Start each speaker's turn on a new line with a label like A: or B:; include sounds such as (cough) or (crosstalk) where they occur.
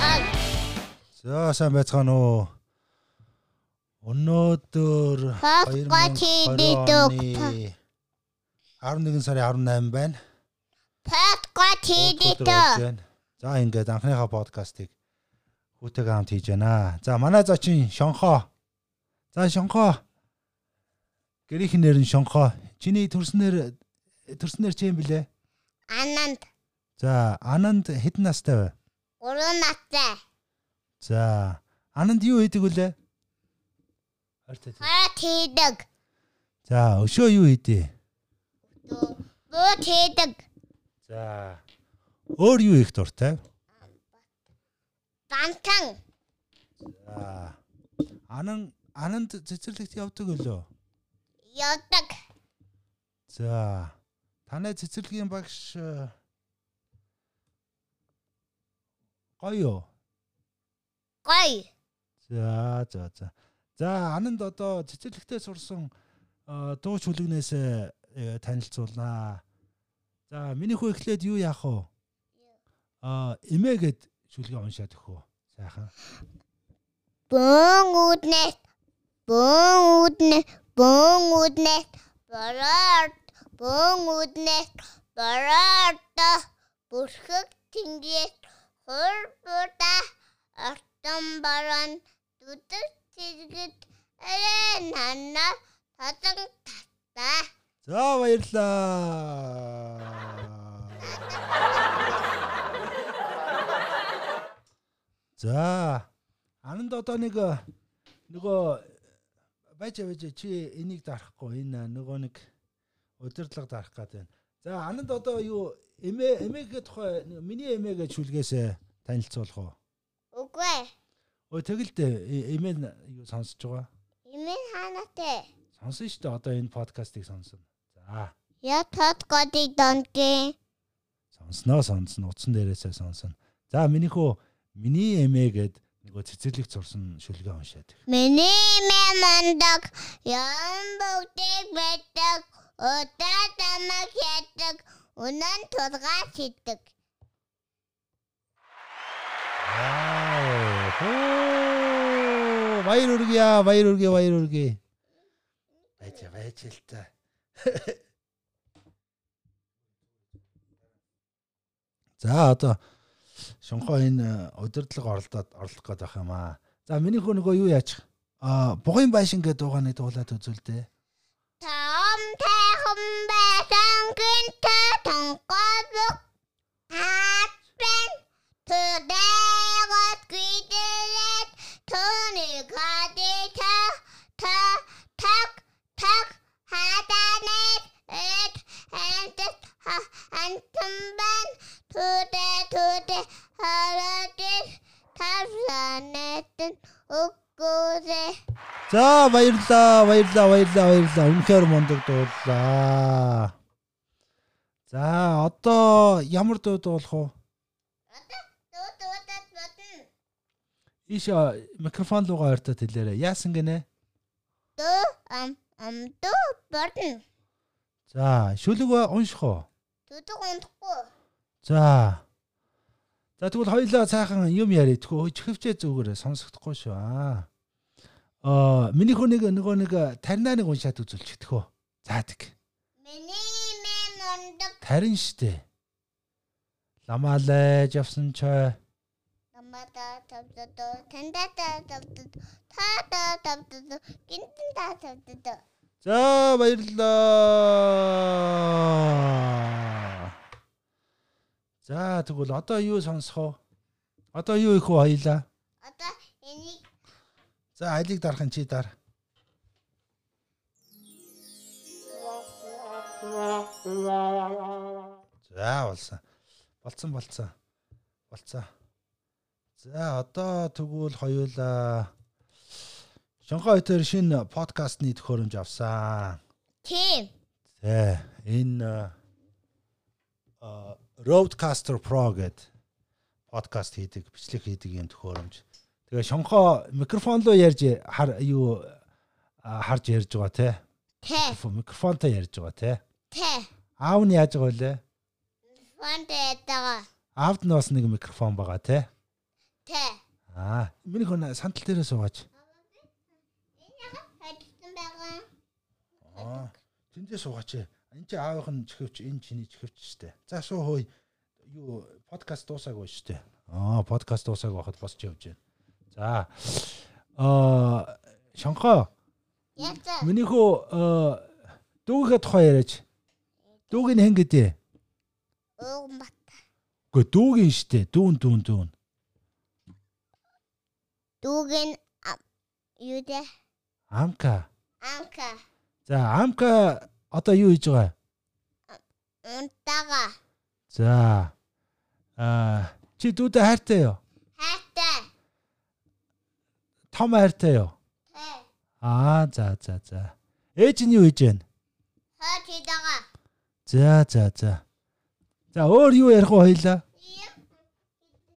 A: 아,
B: За сайн байцгаана уу. Өнөөдөр
A: Подкастид
B: 2020 оны 11 сарын 18 байна.
A: подкаст
B: Өдөр болж
A: хийдэг.
B: байна. За ингээд анхныхаа подкастыг хүүтэйгээ хамт хийж байна. За манай зочин Шонхоо. За Шонхоо. Гэрийн нэр нь Шонхоо. Чиний төрснэр төрснэр чи юм блэ?
A: Ананд
B: За Ананд хэдэн настай вэ?
A: 3 настай.
B: За Ананд юу хийдэг вүлээ? Ойртой.
A: Подкаст хийдэг.
B: За өшөө юу хийдэг?
A: Бүгд хийдэг.
B: За өөр юу их дуртай?
A: Бантан
B: За Анан Ананд цэцэрлэгт явдаг өлөө.
A: явдаг.
B: За танай цэцэрлэгийн багш э, гоё юу?
A: Гой.
B: За за за. За Ананд одоо цэцэрлэгтээ сурсан э, дуу чүлгнээс э, танилцуулнаа. За миний хүү эхлээд юу яах вэ? А эмээ гэд чүлгээ уншаад өгөө. Сайхан.
A: Бөөн үднэс. Бөөн үднэс. Бөөн үднэс. Бороор. Бөөн үднэс. Бороор. Бүрхэг тэнгээс хур буда ортон баран дүдэр зэрэгт арай нана татан татаа.
B: За баярлаа. За ананд одоо нэг э, нөгөө байж байж чи энийг дарахгүй энэ э, нөгөө нэг удирдлага дарах гэдэг байна. За ананд одоо юу эмээ эмээгээ тухай нэг миний эмээгээ шүлгээс танилцуулах уу?
A: Үгүй ээ.
B: Өө тэгэл дээ э, эмээ нь юу сонсож байгаа?
A: Имэн хаанатай.
B: Сонсон шүү дээ одоо энэ подкастыг сонсон. За
A: Я тат годыг донгийн.
B: сонсноо сонсон утсан дээрээсээ сонсон. За минийхүү миний эмээ гээд нөгөө цэцэрлэгт сурсан шүлгээ уншаад. их.
A: Миний мэ мандаг яан бүгдэг байдаг. Удаа тамаг яддаг. Унан тулгаа хийдэг.
B: Аа, хөө. Баяр үргэе, баяр үргэе, баяр үргэе. Байж байж л та. (laughs) За одоо шонхоо энэ э, удирдлага оролдоод орлох гээд байх юм аа. За миний хөө нөгөө юу яачих? Аа, бугын байшин гэдэг дуугааны дуулаад үзүүлдэ.
A: Том тайхан байсан гинтэй тонгоог хатбен төдөөд гүйдэлэт төний гадэта та так так хаданэт эт энтэт антэмбэн төдөө төдөө харадэ тавсанэт өггөөсэй
B: За баярлаа, баярлаа, баярлаа, баярлаа. Үнэхээр мундаг дууллаа. За одоо ямар дуу дуулах вэ?
A: Дуу дуудаад бодно.
B: Ийш э, микрофон руугаа ойртоод хэлээрэй. Яасан гинэ?
A: Дуу ам ам дуу бодно.
B: За шүлэг унших уу?
A: Төдөг унтахгүй.
B: За. За тэгвэл хоёлаа цаахан юм яриад хөө чихвчээ зүгээр сонсохдохгүй шүү. Аа. Аа, миний хөө нэг нөгөө нэг э, тарина нэг уншаад үзүүлчихдэг хөө. Заадаг.
A: Миний мэ мундаг
B: Тарин штэ. Ламалайж явсан чой.
A: намада тавдад танда тавдад та та тавдад гинтэн та тавдад.
B: За баярлалаа. За тэгвэл одоо юу сонсох вэ? Одоо юу их вэ хоёла?
A: Одоо энийг
B: За айлыг дарахын чи дар. За болсон. Болцсон болцсон. Болцсон. За одоо тэгвэл хоёулаа Шанхай хотер шинэ подкастны төхөөрөмж авсан.
A: тийм
B: Тэ энэ а Roadcaster Pro гэд подкаст хийдэг, бичлэг хийдэг юм төхөөрөмж. Тэгээ шонхоо микрофон руу ярьж хар юу а, харж ярьж байгаа те.
A: тэ
B: Микрофон- Микрофонтой ярьж байгаа те.
A: тэ
B: Аав нь яаж байгаа лээ?
A: фонтэйтэйгээ
B: Аавд нь бас нэг микрофон байгаа те.
A: тэ
B: Аа, миний хүн сандал дээрээ суугаач.
A: Хайдсан байгаа.
B: Аа, тэндээ суугаач. Энд чи аавынх нь чихвч, энэ чиний чихвч штэ. За суу хөөе. Юу подкаст дуусаагүй штэ. Аа, подкаст дуусаагүй байхад босч явж байна. За. Аа, шонхоо.
A: Яцаа.
B: Миний хөө аа, дүүгээ тухай яриач. Дүүг нь хэн гэдэг?
A: Ууран бат.
B: Гэхдээ дүүг нь штэ. Дүүн дүүн дүүн.
A: Дүүгэн ам- юу дэ?
B: Амка.
A: Амка.
B: За, амка одоо юу хийж байгаа?
A: Унтага.
B: За. Аа, чи дүүтэй хайртай юу?
A: Хайтай.
B: Том хайртай юу?
A: Хэ.
B: Аа, за, за, за. Ээж нь юу хийж байна?
A: Хаа чи дагаа.
B: За, за, за. За, өөр юу ярих вэ хоёлаа?